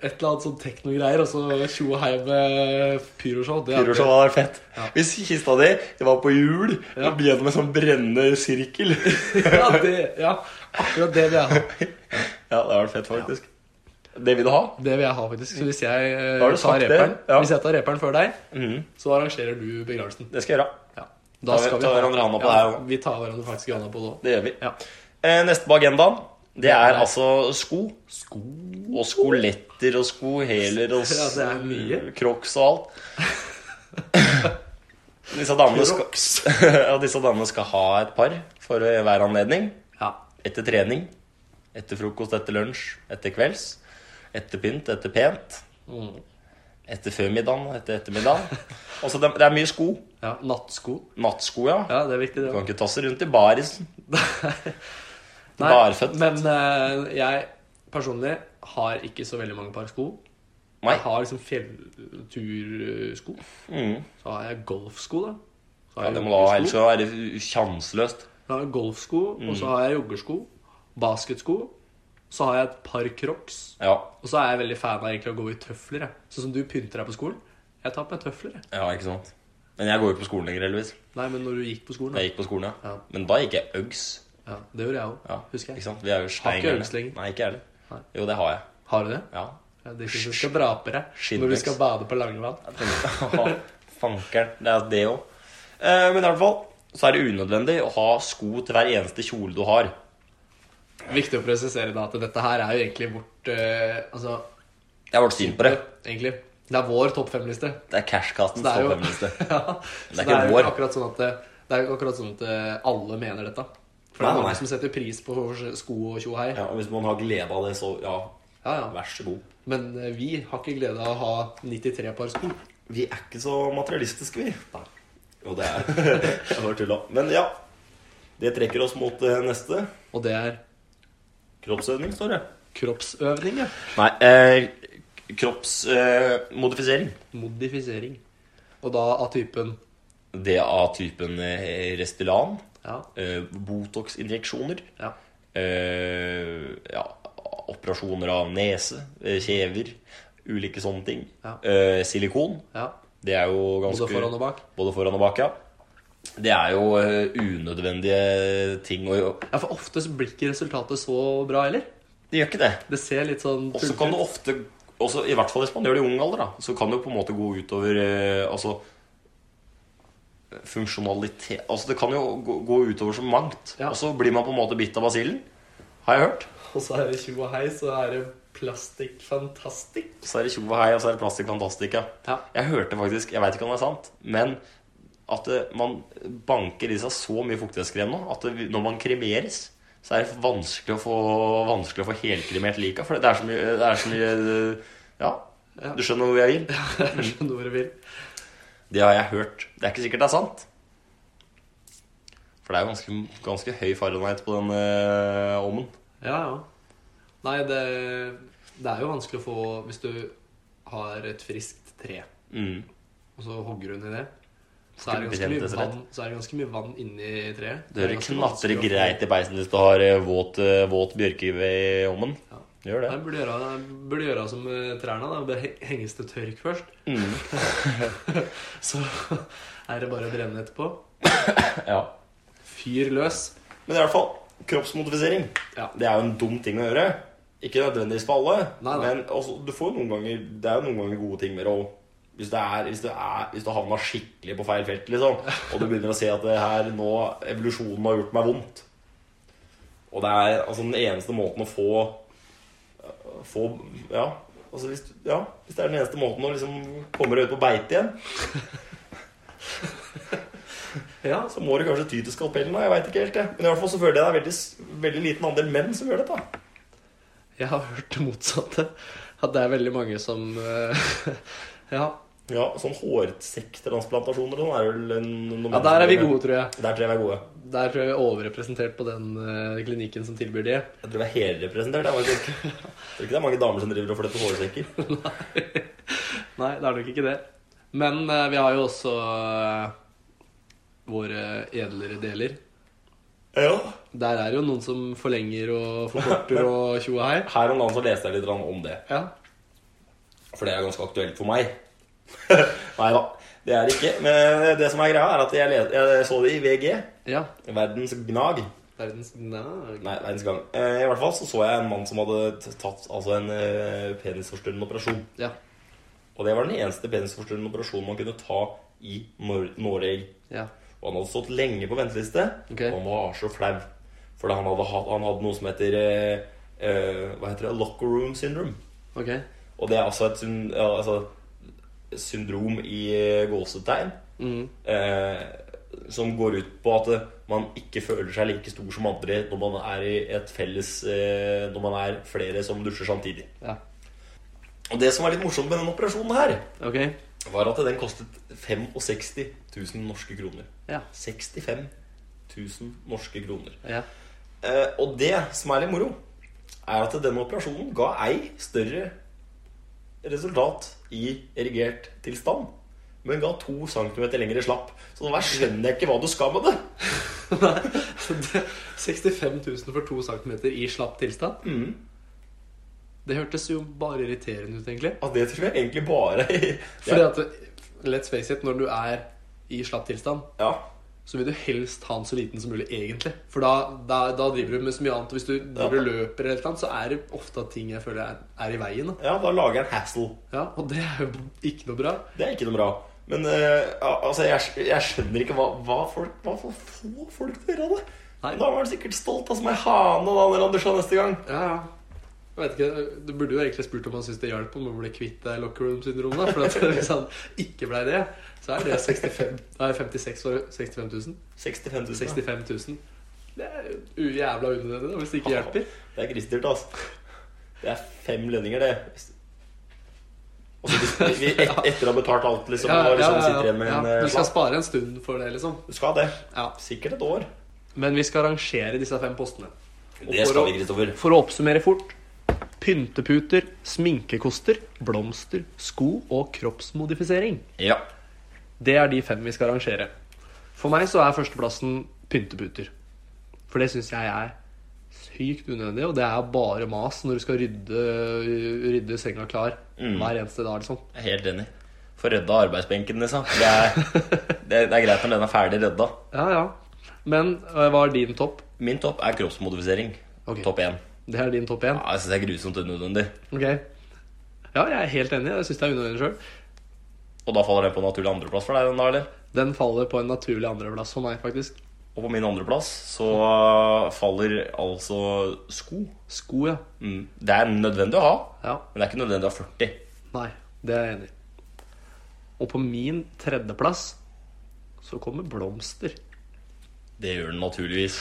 Et eller annet sånn teknogreier, og så tjo og hei med pyroshow. Det er- Pyroshow hadde vært fett. Hvis kista di det var på hjul, Ja. ja. gjennom en sånn brennende sirkel Ja, det, ja, akkurat det vil jeg ha. Ja, det hadde vært fett, faktisk. Det vil du ha? Det vil jeg ha, faktisk. Så hvis jeg, eh, Da har du tar sagt det, reperen, ja. hvis jeg tar reperen før deg, Mhm, så arrangerer du begravelsen. det skal jeg gjøre. Ja. Da tar vi hverandre handa på ja, det her også. Vi tar hverandre faktisk i handa på det òg. Det gjør vi. Ja. Eh, Neste på agendaen, det er er- altså sko. Sko Og skoletter og skoheler og Ja, det er mye. crocs og alt. Disse damene, skal, ja, disse damene skal ha et par for hver anledning. Ja. Etter trening, etter frokost, etter lunsj, etter kvelds. Etter pynt, etter pent. Mm. Etter førmiddagen, etter ettermiddagen. Altså, det, det er mye sko. ja. Nattsko. Nattsko, ja. Ja, det er viktig, det Du òg. kan ikke tasse rundt i barisen. Barføtt. Men eh, jeg personlig har ikke så veldig mange par sko. Nei. Jeg har liksom fjelltursko. Mm. Så har jeg golfsko, da. Så har Ja, jeg det må du ha, ellers joggesko. så Mm. er det sjanseløst. Så har jeg golfsko, og så har jeg joggesko. Basketsko. Så har jeg et par crocs. Ja. Og så er jeg veldig fan av egentlig å gå i tøfler. Jeg. Sånn som du pynter deg på skolen. Jeg tar på meg tøfler. Jeg. ja, ikke sant. Men jeg går jo på skolen lenger, heldigvis. Nei, men når du gikk på skolen, Da da. jeg gikk på skolen, ja. Ja. Men da gikk jeg Uggs. Ja, det gjorde jeg òg, Ja, husker Ikke jeg. sant? Vi er jo Har ikke steingærne. Uggs lenger. Nei, ikke jeg Nei. heller. Jo, det har jeg. Har du det? Ja. Ja, det syns du skal dra på deg når du Skinnveks. skal bade på Langevann. Jeg tenkte, Fankeren. Det er det òg. Eh, men i hvert fall så er det unødvendig å ha sko til hver eneste kjole du har. Viktig å presisere da at dette her er jo egentlig vårt eh, Altså Jeg ble sint på det. egentlig. Det er vår topp fem-liste. Det er cashkasten Det er jo- som feministe. ja. Så Det er det ikke er jo vår. ikke akkurat sånn at det, det er jo ikke akkurat sånn at eh, alle mener dette. For det Nei, er nei. mange som setter pris på sko og tjo og hei. Ja, og hvis man har glede av det, så ja, Ja, ja. vær så god. Men eh, vi har ikke glede av å ha 93 par sko. Vi er ikke så materialistiske, vi. Jo, det er Jeg bare tulla. Men ja. Det trekker oss mot eh, neste. Og det er Kroppsøvning, står det. kroppsøvning, ja. Nei, eh, kroppsmodifisering. Modifisering. Og da av typen det av typen eh, Restylan, Ja. eh, Botox-injeksjoner, ja. eh, ja, operasjoner av nese, eh, kjever, ulike sånne ting. Ja. Eh, silikon, ja. det er jo ganske Både foran og bak. både foran og bak, ja. Det er jo eh, unødvendige ting å gjøre. Ja, For ofte så blir ikke resultatet så bra heller. Det gjør ikke det. Det ser litt sånn Og så tullete kan du ut. ofte også, I hvert fall hvis man gjør det i ung alder, da, så kan det jo på en måte gå utover eh, Altså Funksjonalitet Altså Det kan jo gå, gå utover så mangt. Ja. Og så blir man på en måte bitt av basillen. Har jeg hørt. Og så er det tjo og hei, så er det plastikk fantastic. Så er det tjo og hei, og så er det plastikk fantastica. Ja. Jeg hørte faktisk, jeg veit ikke om det er sant, men at eh, man banker i seg så mye fuktighetskrem nå at det, når man kremeres, så er det vanskelig å få, vanskelig å få helkremert lika. For det er så mye, det er så mye eh, Ja. Ja. Du skjønner hvor jeg vil? Jeg skjønner hvor du vil. Det har jeg hørt. Det er ikke sikkert det er sant. For det er jo ganske, ganske høy Fahrenheit på den eh, ovnen. Ja, ja. Nei, det, det er jo vanskelig å få Hvis du har et friskt tre, Mm. og så hogger du ned i det, så Skal er du det, ganske bekjempe mye det så lett? vann, så er det ganske mye vann inni treet. Det hører ganske knatrer vanskelig å få- greit i peisen hvis du har eh, våt, eh, våt bjørkeive i ovnen. Ja. Det Gjør det. Nei, burde gjøre, burde gjøre som eh, trærne. da Bare he- Henges det tørk først, Mm. så er det bare å brenne etterpå. Ja. Fyr løs. Men i hvert fall, kroppsmodifisering. Ja. Det er jo en dum ting å gjøre. Ikke nødvendigvis for alle, Nei, nei. men også, du får jo noen ganger, det er jo noen ganger gode ting med det òg. Hvis, det er- hvis, det er- hvis du havner skikkelig på feil felt, liksom, og du begynner å se at det her nå, evolusjonen har gjort meg vondt Og det er altså den eneste måten å få Få Ja. Altså hvis, du- ja, hvis det er den eneste måten å liksom komme deg ut på beite igjen, Ja, så må du kanskje ty til skalpellen. da, Jeg veit ikke helt, jeg. Men i hvert fall så føler jeg det er veldig, s- veldig liten andel menn som gjør dette. Jeg har hørt det motsatte. At det er veldig mange som eh, Ja, Ja, sånn hårsekktransplantasjoner og sånn er vel en- noe Ja, Der er vi gode, tror jeg. Der tror jeg vi er gode. Der tror jeg vi er overrepresentert på den eh, klinikken som tilbyr det. Jeg tror vi er helrepresentert. Jeg faktisk. Jeg tror ikke det er mange damer som driver og fletter hårsekker. Nei, det er nok ikke det. Men eh, vi har jo også eh, våre edlere deler. Ja. Der er det jo noen som forlenger og forkorter og tjo og hei. Her om dagen så leste jeg litt grann om det, Ja. for det er ganske aktuelt for meg. Nei da, det er det ikke. Men eh, det som er greia, er at jeg, les, jeg så det i VG. ja. Verdens gnag. Verdens nag. Nei, verdens gang. Eh, I hvert fall så så jeg en mann som hadde t- tatt altså en eh, penisforstørrende operasjon. Ja. Og det var den eneste penisforstørrende operasjonen man kunne ta i Nor Norge. ja. Og han hadde stått lenge på venteliste, Ok. og han var så flau. For han hadde, hatt, han hadde noe som heter eh, eh, Hva heter det? Locker room syndrome. Ok. Og det er altså et syn, ja, altså, syndrom i eh, gåsetegn Mm. eh, som går ut på at eh, man ikke føler seg like stor som andre når man er i et felles eh, Når man er flere som dusjer samtidig. Ja. Og det som var litt morsomt med den operasjonen her, Ok. var at den kostet 65 000 norske kroner. Ja. 65 000 norske kroner. Ja. Eh, og det som er litt moro, er at denne operasjonen ga ei større resultat i erigert tilstand, men ga to centimeter lengre slapp. Så nå her skjønner jeg ikke hva du skal med det. Nei, det- 65 000 for 2 cm i slapp tilstand? Det hørtes jo bare irriterende ut, egentlig. Altså, det tror jeg egentlig bare Fordi ja. at, let's face it, når du er i slapp tilstand, ja. så vil du helst ha den så liten som mulig, egentlig. For da, da, da driver du med så mye annet. Og hvis du driver og løper, eller et eller annet, så er det ofte at ting jeg føler er, er i veien. Da. ja, da lager jeg en hassle. Ja, og det er jo ikke noe bra. Det er ikke noe bra. Men eh, al- altså, jeg, jeg skjønner ikke hva, hva folk Hva får få folk til å gjøre av det? Nei. Da var han sikkert stolt av som ei hane da når han dusja neste gang. Ja, ja. Jeg vet ikke, Du burde jo egentlig spurt om han syntes det hjalp om å bli kvitt det locker room-syndromet. da, For at hvis han ikke ble det, så er det 65, nei, 56 for 65 000. 65 000. 65 000. Det er jo jævla unødvendig da, hvis det ikke hjelper. Det er grisedyrt, altså. Det er fem lønninger, det. Altså, hvis- vi, et, etter å ha betalt alt, liksom. Ja, og ja, liksom ja, sitter igjen med ja. en eh, Du skal slapp. spare en stund for det, liksom. Du skal det. Ja. Sikkert et år. Men vi skal rangere disse fem postene. Og Det for skal å- vi, Kristoffer. For å oppsummere fort. Pynteputer, sminkekoster, blomster, sko og kroppsmodifisering. Ja. Det er de fem vi skal rangere. For meg så er førsteplassen pynteputer. For det syns jeg er sykt unødvendig, og det er bare mas når du skal rydde, rydde senga klar hver eneste dag. liksom. Jeg er helt enig. Få rydda arbeidsbenken, liksom. Det er, det, er- det er greit når den er ferdig rydda. Ja, ja. Men øh, hva er din topp? Min topp er kroppsmodifisering. Ok. Topp én. Det er din topp én? Ja, jeg syns det er grusomt unødvendig. Ok. Ja, jeg er helt enig. Jeg syns det er unødvendig sjøl. Og da faller den på naturlig andreplass for deg, den da, eller? Den faller på en naturlig andreplass for meg, faktisk. Og på min andreplass så faller altså sko. Sko, ja. Mm. Det er nødvendig å ha, ja. men det er ikke nødvendig å ha 40. Nei, det er jeg enig i. Og på min tredjeplass så kommer blomster. Det gjør den naturligvis.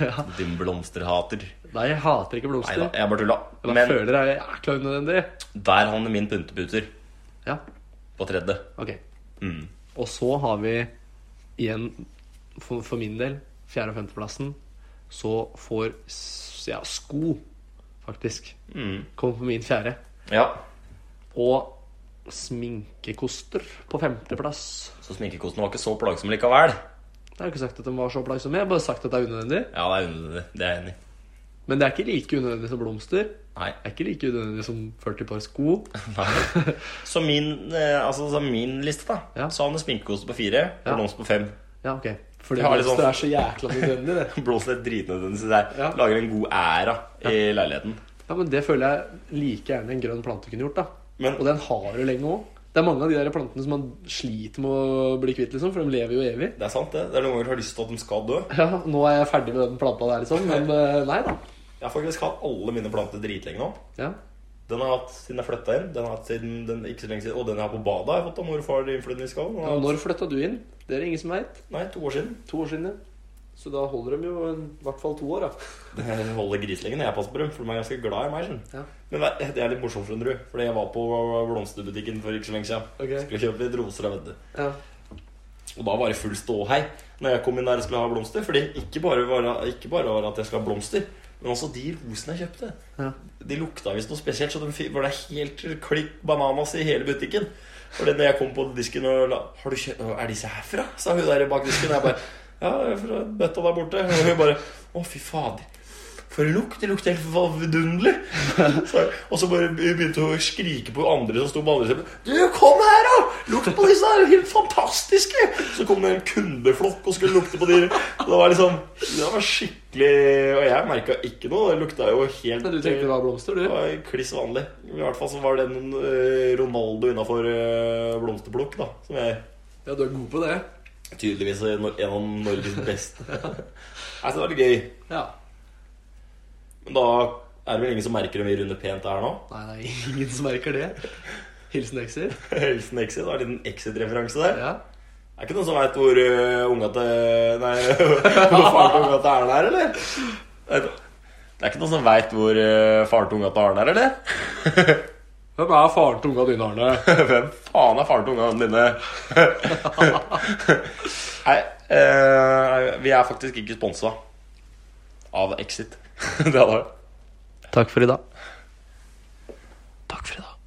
ja. Din blomsterhater. Nei, jeg hater ikke Nei blomster. da, jeg bare tulla. Men jeg Men føler jeg er jækla unødvendig. der havner min pynteputer Ja, på tredje. ok. Mm. Og så har vi igjen, for, for min del, fjerde- og femteplassen, så får s- ja, sko, faktisk, Mm. kommer på min fjerde. Ja, Og sminkekoster på femteplass. Så sminkekosten var ikke så plagsom likevel. Jeg har ikke sagt at den var så plagsom, jeg har bare sagt at det er unødvendig. Ja, det er unødvendig. Det er jeg enig i. Men det er ikke like unødvendig som blomster. Nei. Det er ikke like unødvendig som 40 par sko. Nei. Så min, eh, altså, så min liste, da, Ja. så havner sminkekosten på fire og Ja. blomster på fem. Ja, ok. Fordi Jeg har litt blomster sånn- er så jækla nødvendig, det. Blomster er dritnødvendig, syns jeg. Ja. Lager en god æra i leiligheten. Ja, men Det føler jeg like gjerne en grønn plante kunne gjort. da Men- Og den har du lenge òg. Det er mange av de der plantene som man sliter med å bli kvitt, liksom, for de lever jo evig. Det er sant, det. Det er noen ganger jeg har lyst til at de skal dø. Ja, Nå er jeg ferdig med den planta der, liksom. Men eh, nei da. Jeg har faktisk hatt alle mine planter dritlenge nå. Ja, Den har jeg hatt siden jeg flytta inn. Den har jeg hatt siden, den, ikke så lenge siden Og den jeg har på badet, har jeg fått av morfar i innflytningsgave. Den har jeg ja hatt- Når flytta du inn? Det er det ingen som veit. Nei, to år siden. To år siden. ja. Så da holder de jo en- i hvert fall to år, da. Jeg holder grislingen jeg passer på dem, for de er ganske glad i meg. skjønner du. Ja. Men nei, det er litt morsomt, skjønner du. Fordi jeg var på blomsterbutikken for ikke så lenge siden. Ok. Skulle kjøpe litt roser. vet du. Ja. Og da var det full ståhei når jeg kom inn der og skulle ha blomster. Fordi ikke bare var, ikke bare var det at jeg skulle ha blomster, men også de rosene jeg kjøpte. Ja. De lukta visst noe spesielt, så de fi- var det helt klikk bananas i hele butikken. Fordi når jeg kom på disken og la Har du kjøpt, Er disse herfra? sa hun der bak disken. Jeg bare Ja, jeg er fra bøtta der borte. Og hun bare Å, fy fader. For en lukt! Det lukter helt vidunderlig! Så- Og så bare begynte hun å skrike på andre som sto på andre siden. Du, kom her, da! Lukt på disse her! Helt fantastiske! Så kom det en kundeflokk og skulle lukte på de. Og Det var liksom Det var skikkelig Og jeg merka ikke noe. Det lukta jo helt Men du tenkte det var blomster, det du? var kliss vanlig. I hvert fall så var det en eh, Ronaldo innafor eh, blomsterplukk, da. Som jeg Ja, du er god på det. tydeligvis er no- en av Norges beste. Nei, så det var litt gøy. Ja. Men da er det vel ingen som merker om vi runder pent her nå? Nei, det er ingen som merker det. Hilsen Exit. Hilsen Exit. Det var en liten Exit-referanse der. Ja. Det er ikke noen som veit hvor eh, unga til Nei, hvor faren til unga til Erlend er, eller? Det er- Det er ikke noen som veit hvor eh, faren til unga til Arne er, eller? Hvem er faren til unga dine, Arne? Hvem faen er faren til ungene dine? Nei, eh, vi er faktisk ikke sponsa av Exit. Det hadde vært Takk for i dag. Takk for i dag.